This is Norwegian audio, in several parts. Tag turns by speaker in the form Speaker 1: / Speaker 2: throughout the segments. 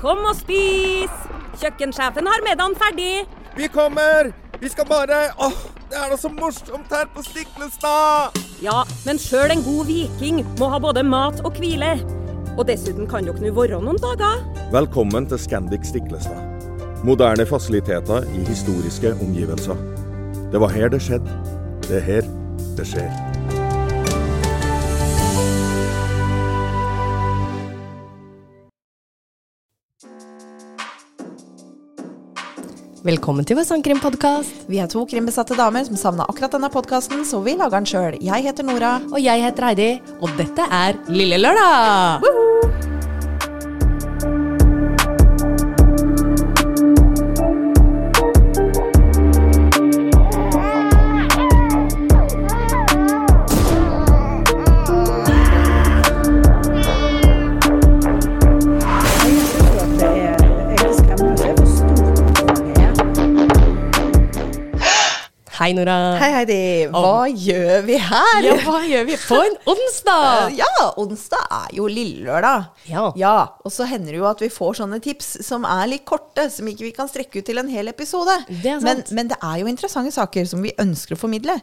Speaker 1: Kom og spis! Kjøkkensjefen har middagen ferdig.
Speaker 2: Vi kommer! Vi skal bare Åh, det er da så morsomt her på Stiklestad!
Speaker 1: Ja, men sjøl en god viking må ha både mat og hvile. Og dessuten kan dere nå være noen dager.
Speaker 2: Velkommen til Scandic Stiklestad. Moderne fasiliteter i historiske omgivelser. Det var her det skjedde. Det er her det skjer.
Speaker 3: Velkommen til vår sangkrimpodkast.
Speaker 4: Vi er to krimbesatte damer som savna akkurat denne podkasten, så vi lager den sjøl. Jeg heter Nora.
Speaker 3: Og jeg heter Heidi, og dette er Lille Lørdag! Hei, Nora.
Speaker 4: Hei, Heidi. Hva gjør vi her?
Speaker 3: Ja, hva gjør vi på en onsdag?
Speaker 4: Ja, onsdag er jo lillelørdag.
Speaker 3: Ja.
Speaker 4: Og så hender det jo at vi får sånne tips som er litt korte, som ikke vi kan strekke ut til en hel episode.
Speaker 3: Det er sant.
Speaker 4: Men, men det er jo interessante saker som vi ønsker å formidle.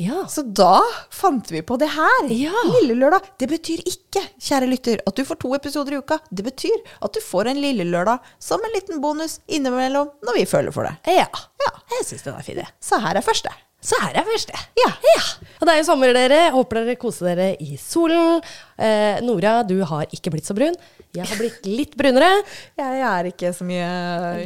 Speaker 3: Ja.
Speaker 4: Så da fant vi på det her.
Speaker 3: Ja.
Speaker 4: Lillelørdag. Det betyr ikke, kjære lytter, at du får to episoder i uka. Det betyr at du får en lillelørdag som en liten bonus innimellom når vi føler for det.
Speaker 3: ja.
Speaker 4: Ja.
Speaker 3: Jeg syns den er fin, jeg.
Speaker 4: Så her er første.
Speaker 3: Så her er første.
Speaker 4: Ja.
Speaker 3: Ja. Og det er jo sommer, dere. Håper dere koser dere i solen. Eh, Nora, du har ikke blitt så brun. Jeg har blitt litt brunere.
Speaker 4: Jeg, er ikke så mye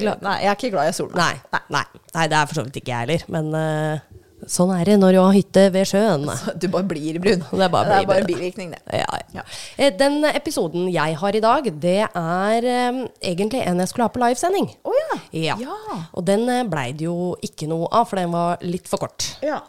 Speaker 3: Glad-
Speaker 4: Nei, jeg er ikke glad i solen.
Speaker 3: Nei, nei, nei det er for så vidt ikke jeg heller. Men eh, sånn er det når du har hytte ved sjøen.
Speaker 4: altså, Du bare blir brun.
Speaker 3: Det er bare å bli
Speaker 4: en
Speaker 3: brun.
Speaker 4: bivirkning, det.
Speaker 3: Ja, ja.
Speaker 4: Ja.
Speaker 3: Eh, Den episoden jeg har i dag, det er eh, egentlig en jeg skulle ha på livesending.
Speaker 4: Å ja.
Speaker 3: Ja.
Speaker 4: Ja.
Speaker 3: Og den eh, blei det jo ikke noe av, for den var litt for kort.
Speaker 4: ja.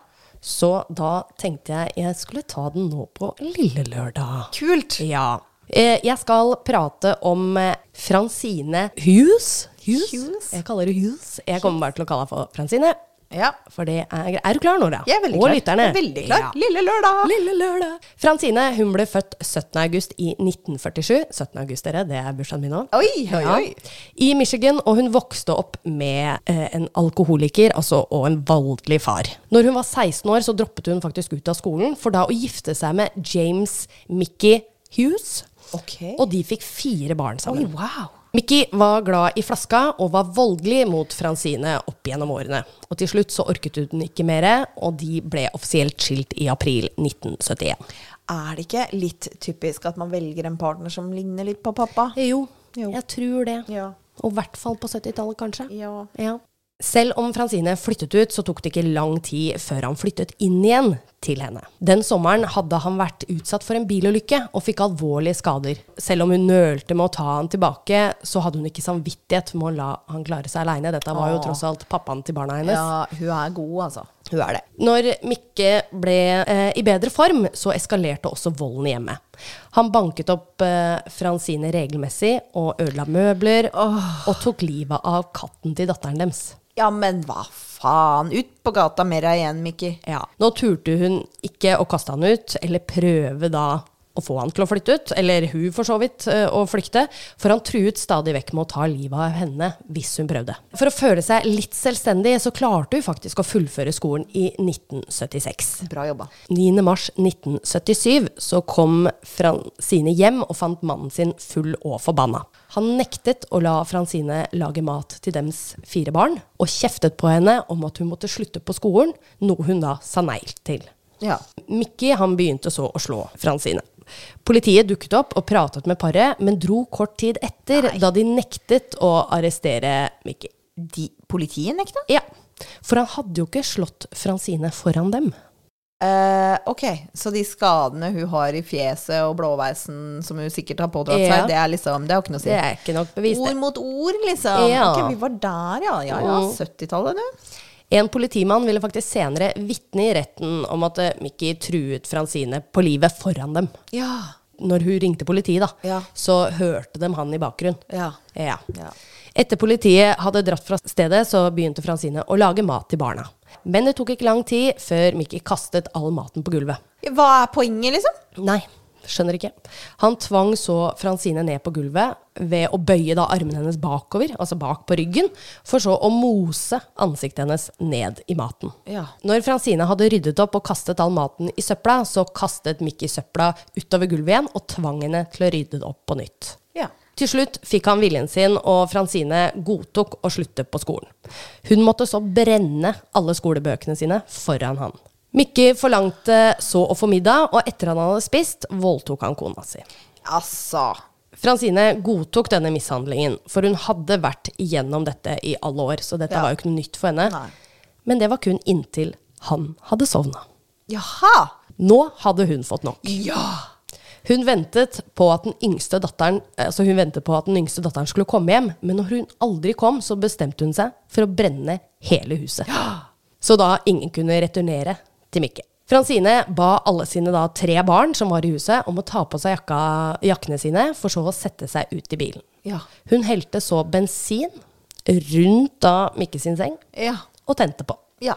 Speaker 3: Så da tenkte jeg jeg skulle ta den nå på lille lørdag.
Speaker 4: Kult.
Speaker 3: Ja. Eh, Jeg skal prate om eh, Francine Hughes.
Speaker 4: Hughes?
Speaker 3: Jeg kaller henne Hughes. Jeg kommer bare til å kalle henne for Francine.
Speaker 4: Ja.
Speaker 3: For det er greit. Er du klar, Nora?
Speaker 4: Jeg er veldig
Speaker 3: Og
Speaker 4: klar.
Speaker 3: lytterne.
Speaker 4: Veldig klar.
Speaker 3: Ja.
Speaker 4: Lille lørdag.
Speaker 3: Lille lørdag. Francine hun ble født 17. august i 1947. 17. august, dere, det er bursdagen min nå.
Speaker 4: Oi, oi, oi.
Speaker 3: I Michigan, og hun vokste opp med eh, en alkoholiker altså, og en voldelig far. Når hun var 16 år, så droppet hun faktisk ut av skolen, for da å gifte seg med James Mickey Hughes.
Speaker 4: Ok.
Speaker 3: Og de fikk fire barn sammen.
Speaker 4: wow.
Speaker 3: Mickey var glad i flaska og var voldelig mot Francine opp gjennom årene. Og til slutt så orket hun ikke mer, og de ble offisielt skilt i april 1971.
Speaker 4: Er det ikke litt typisk at man velger en partner som ligner litt på pappa?
Speaker 3: Jo,
Speaker 4: Jo.
Speaker 3: jeg tror det.
Speaker 4: Ja.
Speaker 3: Og i hvert fall på 70-tallet, kanskje.
Speaker 4: Ja.
Speaker 3: Selv om Francine flyttet ut, så tok det ikke lang tid før han flyttet inn igjen til henne. Den sommeren hadde han vært utsatt for en bilulykke og fikk alvorlige skader. Selv om hun nølte med å ta han tilbake, så hadde hun ikke samvittighet med å la han klare seg aleine. Dette var jo tross alt pappaen til barna hennes.
Speaker 4: Ja, hun er god, altså.
Speaker 3: Hun er det. Når Mikke ble eh, i bedre form, så eskalerte også volden hjemme. Han banket opp eh, Francine regelmessig og ødela møbler, og tok livet av katten til datteren deres.
Speaker 4: Ja, men hva faen. Ut på gata mer igjen, Mikki.
Speaker 3: Ja. Nå turte hun ikke å kaste han ut, eller prøve da å få han til å flytte ut, eller hun for så vidt, eh, å flykte, for han truet stadig vekk med å ta livet av henne hvis hun prøvde. For å føle seg litt selvstendig, så klarte hun faktisk å fullføre skolen i 1976.
Speaker 4: Bra jobba.
Speaker 3: 9. mars 1977 så kom Francine hjem og fant mannen sin full og forbanna. Han nektet å la Francine lage mat til dems fire barn, og kjeftet på henne om at hun måtte slutte på skolen, noe hun da sa nei til.
Speaker 4: Ja.
Speaker 3: Mickey han begynte så å slå Francine. Politiet dukket opp og pratet med paret, men dro kort tid etter, da de nektet å arrestere Mickey.
Speaker 4: De, politiet nekta?
Speaker 3: Ja, for han hadde jo ikke slått Francine foran dem.
Speaker 4: Eh, ok, så de skadene hun har i fjeset og blåveisen som hun sikkert har pådratt
Speaker 3: Ja.
Speaker 4: seg, det er liksom, det har ikke noe å si.
Speaker 3: Det er ikke nok bevis, det.
Speaker 4: Ord mot ord, liksom.
Speaker 3: Ja.
Speaker 4: Ok, vi var der, ja. Ja, ja,
Speaker 3: Mm.
Speaker 4: 70-tallet, du.
Speaker 3: En politimann ville faktisk senere vitne i retten om at eh, Mickey truet Francine på livet foran dem.
Speaker 4: Ja.
Speaker 3: Når hun ringte politiet, da,
Speaker 4: Ja.
Speaker 3: så hørte de han i bakgrunnen.
Speaker 4: Ja.
Speaker 3: Ja.
Speaker 4: Ja.
Speaker 3: Etter politiet hadde dratt fra stedet, så begynte Francine å lage mat til barna. Men det tok ikke lang tid før Mickey kastet all maten på gulvet.
Speaker 4: Hva er poenget, liksom?
Speaker 3: Nei, Skjønner ikke. Han tvang så Fransine ned på gulvet ved å bøye da armene hennes bakover, altså bak på ryggen, for så å mose ansiktet hennes ned i maten.
Speaker 4: Ja.
Speaker 3: Når Fransine hadde ryddet opp og kastet all maten i søpla, så kastet Mickey søpla utover gulvet igjen og tvang henne til å rydde det opp på nytt.
Speaker 4: Ja.
Speaker 3: Til slutt fikk han viljen sin, og Fransine godtok å slutte på skolen. Hun måtte så brenne alle skolebøkene sine foran han. Mikke forlangte så å få middag, og etter han hadde spist, voldtok han kona si.
Speaker 4: Altså.
Speaker 3: Fransine godtok denne mishandlingen, for hun hadde vært igjennom dette i alle år, så dette
Speaker 4: Ja.
Speaker 3: var jo ikke noe nytt for henne.
Speaker 4: Nei.
Speaker 3: Men det var kun inntil han hadde sovna.
Speaker 4: Jaha.
Speaker 3: Nå hadde hun fått nok.
Speaker 4: Ja.
Speaker 3: Hun ventet på at den yngste datteren altså hun ventet på at den yngste datteren skulle komme hjem, men når hun aldri kom, så bestemte hun seg for å brenne hele huset. Så da ingen kunne returnere til Mikke. Fransine ba alle sine da tre barn som var i huset, om å ta på seg jakka, jakkene sine, for så å sette seg ut i bilen.
Speaker 4: Ja.
Speaker 3: Hun helte så bensin rundt da Mikke sin seng,
Speaker 4: Ja.
Speaker 3: og tente på.
Speaker 4: Ja.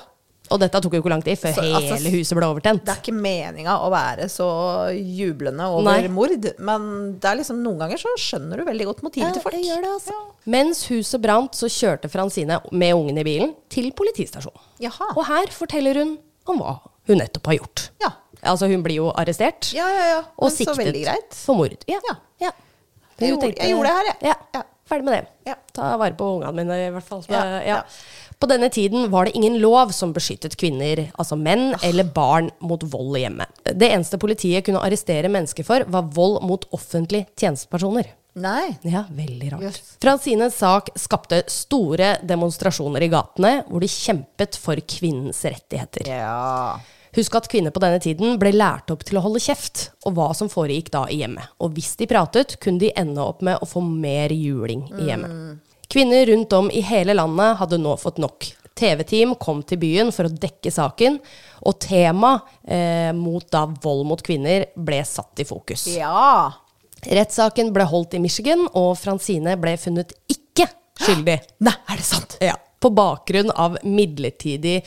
Speaker 3: Og dette tok jo ikke lang tid før
Speaker 4: Så, altså,
Speaker 3: hele huset ble overtent.
Speaker 4: Det er ikke meninga å være så jublende over
Speaker 3: Nei.
Speaker 4: mord, men det er liksom, noen ganger så skjønner du veldig godt motivet til folk.
Speaker 3: jeg gjør det, altså. Mens huset brant, så kjørte Fransine med ungen i bilen til politistasjonen.
Speaker 4: Jaha.
Speaker 3: Og her forteller hun om hva hun nettopp har gjort.
Speaker 4: Ja.
Speaker 3: Altså, hun blir jo arrestert.
Speaker 4: Ja, ja, ja.
Speaker 3: Og
Speaker 4: Men så
Speaker 3: siktet
Speaker 4: veldig greit.
Speaker 3: for mord. Ja.
Speaker 4: Ja.
Speaker 3: ja.
Speaker 4: Jeg
Speaker 3: Hun
Speaker 4: gjorde- jeg gjorde det her, jeg.
Speaker 3: Ja.
Speaker 4: Ja.
Speaker 3: Ferdig med det.
Speaker 4: Ja.
Speaker 3: Ta vare på ungene mine, i hvert fall.
Speaker 4: Ja,
Speaker 3: Ja.
Speaker 4: ja.
Speaker 3: På denne tiden var det ingen lov som beskyttet kvinner, altså menn
Speaker 4: Ah.
Speaker 3: eller barn, mot vold i hjemmet. Det eneste politiet kunne arrestere mennesker for, var vold mot offentlig tjenestepersoner.
Speaker 4: Nei.
Speaker 3: Ja, veldig rart.
Speaker 4: Yes.
Speaker 3: Fransines sak skapte store demonstrasjoner i gatene, hvor de kjempet for kvinnens rettigheter.
Speaker 4: Ja.
Speaker 3: Husk at kvinner på denne tiden ble lært opp til å holde kjeft, og hva som foregikk da i hjemmet. Og hvis de pratet, kunne de ende opp med å få mer juling i hjemmet.
Speaker 4: Mm.
Speaker 3: Kvinner rundt om i hele landet hadde nå fått nok. TV-team kom til byen for å dekke saken, og temaet eh, mot da vold mot kvinner ble satt i fokus.
Speaker 4: Ja.
Speaker 3: Rettssaken ble holdt i Michigan, og Fransine ble funnet ikke skyldig.
Speaker 4: Nei, er det sant?
Speaker 3: Ja. På bakgrunn av midlertidig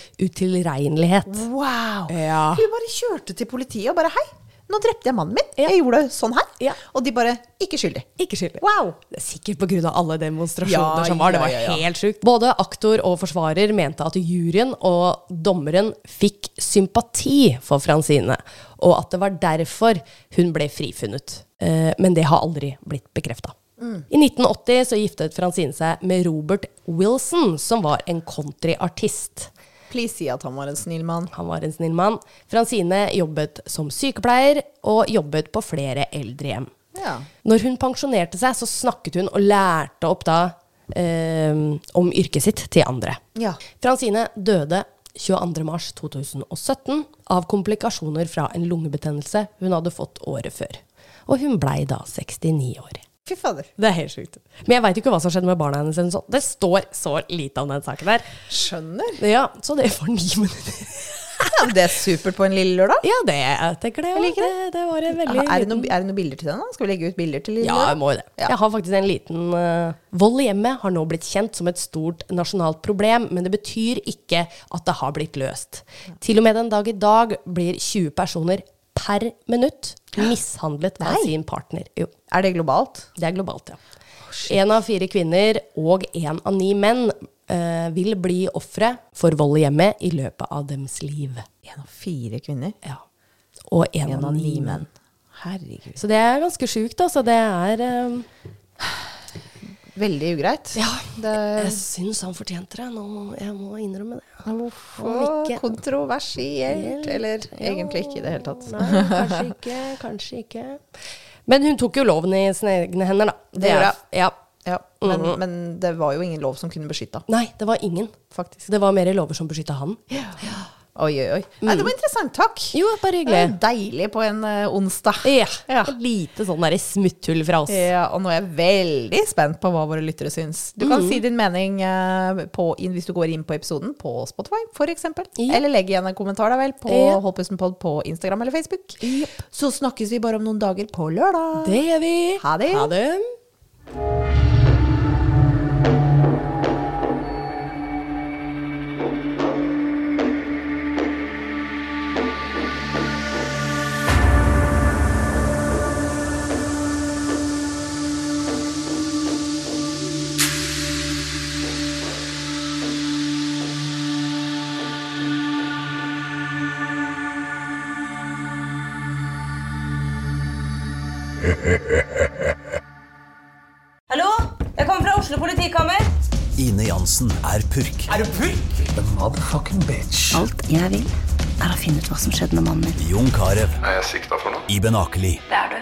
Speaker 3: utilregnelighet.
Speaker 4: Wow.
Speaker 3: Ja.
Speaker 4: Hun bare kjørte til politiet og bare hei, nå drepte jeg mannen min.
Speaker 3: Ja.
Speaker 4: Jeg gjorde sånn her.
Speaker 3: Ja.
Speaker 4: Og de bare ikke skyldig.
Speaker 3: Ikke skyldig.
Speaker 4: Wow.
Speaker 3: Det er sikkert på grunn av alle demonstrasjoner
Speaker 4: Ja,
Speaker 3: som var. Det
Speaker 4: ja,
Speaker 3: var
Speaker 4: ja, ja.
Speaker 3: helt sjukt. Både aktor og forsvarer mente at juryen og dommeren fikk sympati for Fransine, og at det var derfor hun ble frifunnet. Eh, Men det har aldri blitt bekrefta. I 1980 så giftet Fransine seg med Robert Wilson, som var en countryartist.
Speaker 4: Please si at han var en snill mann.
Speaker 3: Han var en snill mann. Fransine jobbet som sykepleier og jobbet på flere eldrehjem.
Speaker 4: Ja.
Speaker 3: Når hun pensjonerte seg, så snakket hun og lærte opp da eh, om yrket sitt til andre.
Speaker 4: Ja.
Speaker 3: Fransine døde 22.3.2017 av komplikasjoner fra en lungebetennelse hun hadde fått året før. Og hun blei da 69 år.
Speaker 4: Fy fader.
Speaker 3: Det er helt sjukt. Men jeg veit ikke hva som skjedde med barna hennes. eller noe sånt. Det står så lite om den saken der.
Speaker 4: Skjønner.
Speaker 3: Ja, Så det får ni minutter.
Speaker 4: Ja, men det er supert på en lille lørdag.
Speaker 3: Ja, det jeg tenker det. ja.
Speaker 4: Jeg liker det.
Speaker 3: det. Det var en
Speaker 4: Er
Speaker 3: veldig
Speaker 4: det,
Speaker 3: liten-
Speaker 4: noen, er det noen bilder til den? da? Skal vi legge ut bilder til lille
Speaker 3: Ja, jeg
Speaker 4: lørdag?
Speaker 3: må jo det.
Speaker 4: Ja.
Speaker 3: Jeg har faktisk en liten eh, Vold i hjemmet har nå blitt kjent som et stort nasjonalt problem, men det betyr ikke at det har blitt løst. Til og med den dag i dag blir 20 personer per minutt mishandlet av
Speaker 4: Nei.
Speaker 3: sin partner. Jo,
Speaker 4: Er det globalt?
Speaker 3: det er globalt, ja. Én av fire kvinner og én av ni menn eh, vil bli ofre for vold i hjemmet i løpet av deres liv.
Speaker 4: En av fire kvinner.
Speaker 3: Ja. Og én av ni menn.
Speaker 4: Herregud.
Speaker 3: Så det er ganske sjukt, altså. Det er eh,
Speaker 4: Veldig ugreit.
Speaker 3: Ja,
Speaker 4: Det
Speaker 3: jeg syns han fortjente det. Nå må, jeg må innrømme det.
Speaker 4: Hvorfor
Speaker 3: ikke?
Speaker 4: Kontroversielt. Eller egentlig ikke i det hele tatt.
Speaker 3: Nei, kanskje ikke, kanskje ikke. Men hun tok jo loven i sine egne hender, da.
Speaker 4: Det gjorde hun.
Speaker 3: Ja.
Speaker 4: Ja, men, men det var jo ingen lov som kunne beskytte henne.
Speaker 3: Nei, det var ingen.
Speaker 4: Faktisk.
Speaker 3: Det var mer lover som beskytta han.
Speaker 4: Oi, oi, oi. Nei, det var interessant. Takk.
Speaker 3: Jo, bare
Speaker 4: Det er
Speaker 3: hyggelig.
Speaker 4: deilig på en eh, onsdag.
Speaker 3: Ja.
Speaker 4: Ja.
Speaker 3: Et lite sånn derre smutthull fra oss.
Speaker 4: Ja, og nå er jeg veldig spent på hva våre lyttere syns. Du
Speaker 3: Mm.
Speaker 4: kan si din mening eh, på, inn, hvis du går inn på episoden på Spotify f.eks.
Speaker 3: Ja.
Speaker 4: Eller legg igjen en kommentar da vel på
Speaker 3: Ja.
Speaker 4: Hold pusten pod på Instagram eller Facebook. Så snakkes vi bare om noen dager på lørdag.
Speaker 3: Det gjør vi.
Speaker 4: Ha det.
Speaker 3: Ha det.
Speaker 5: Oslo politikammer.
Speaker 6: Ine Jansen er purk.
Speaker 7: Er du purk?
Speaker 6: The motherfucking bitch.
Speaker 8: Alt jeg vil, er å finne ut hva som skjedde med mannen min.
Speaker 6: Jon Carew,
Speaker 9: Er jeg sikta for noe?
Speaker 6: Iben Akeli,
Speaker 8: Det er du.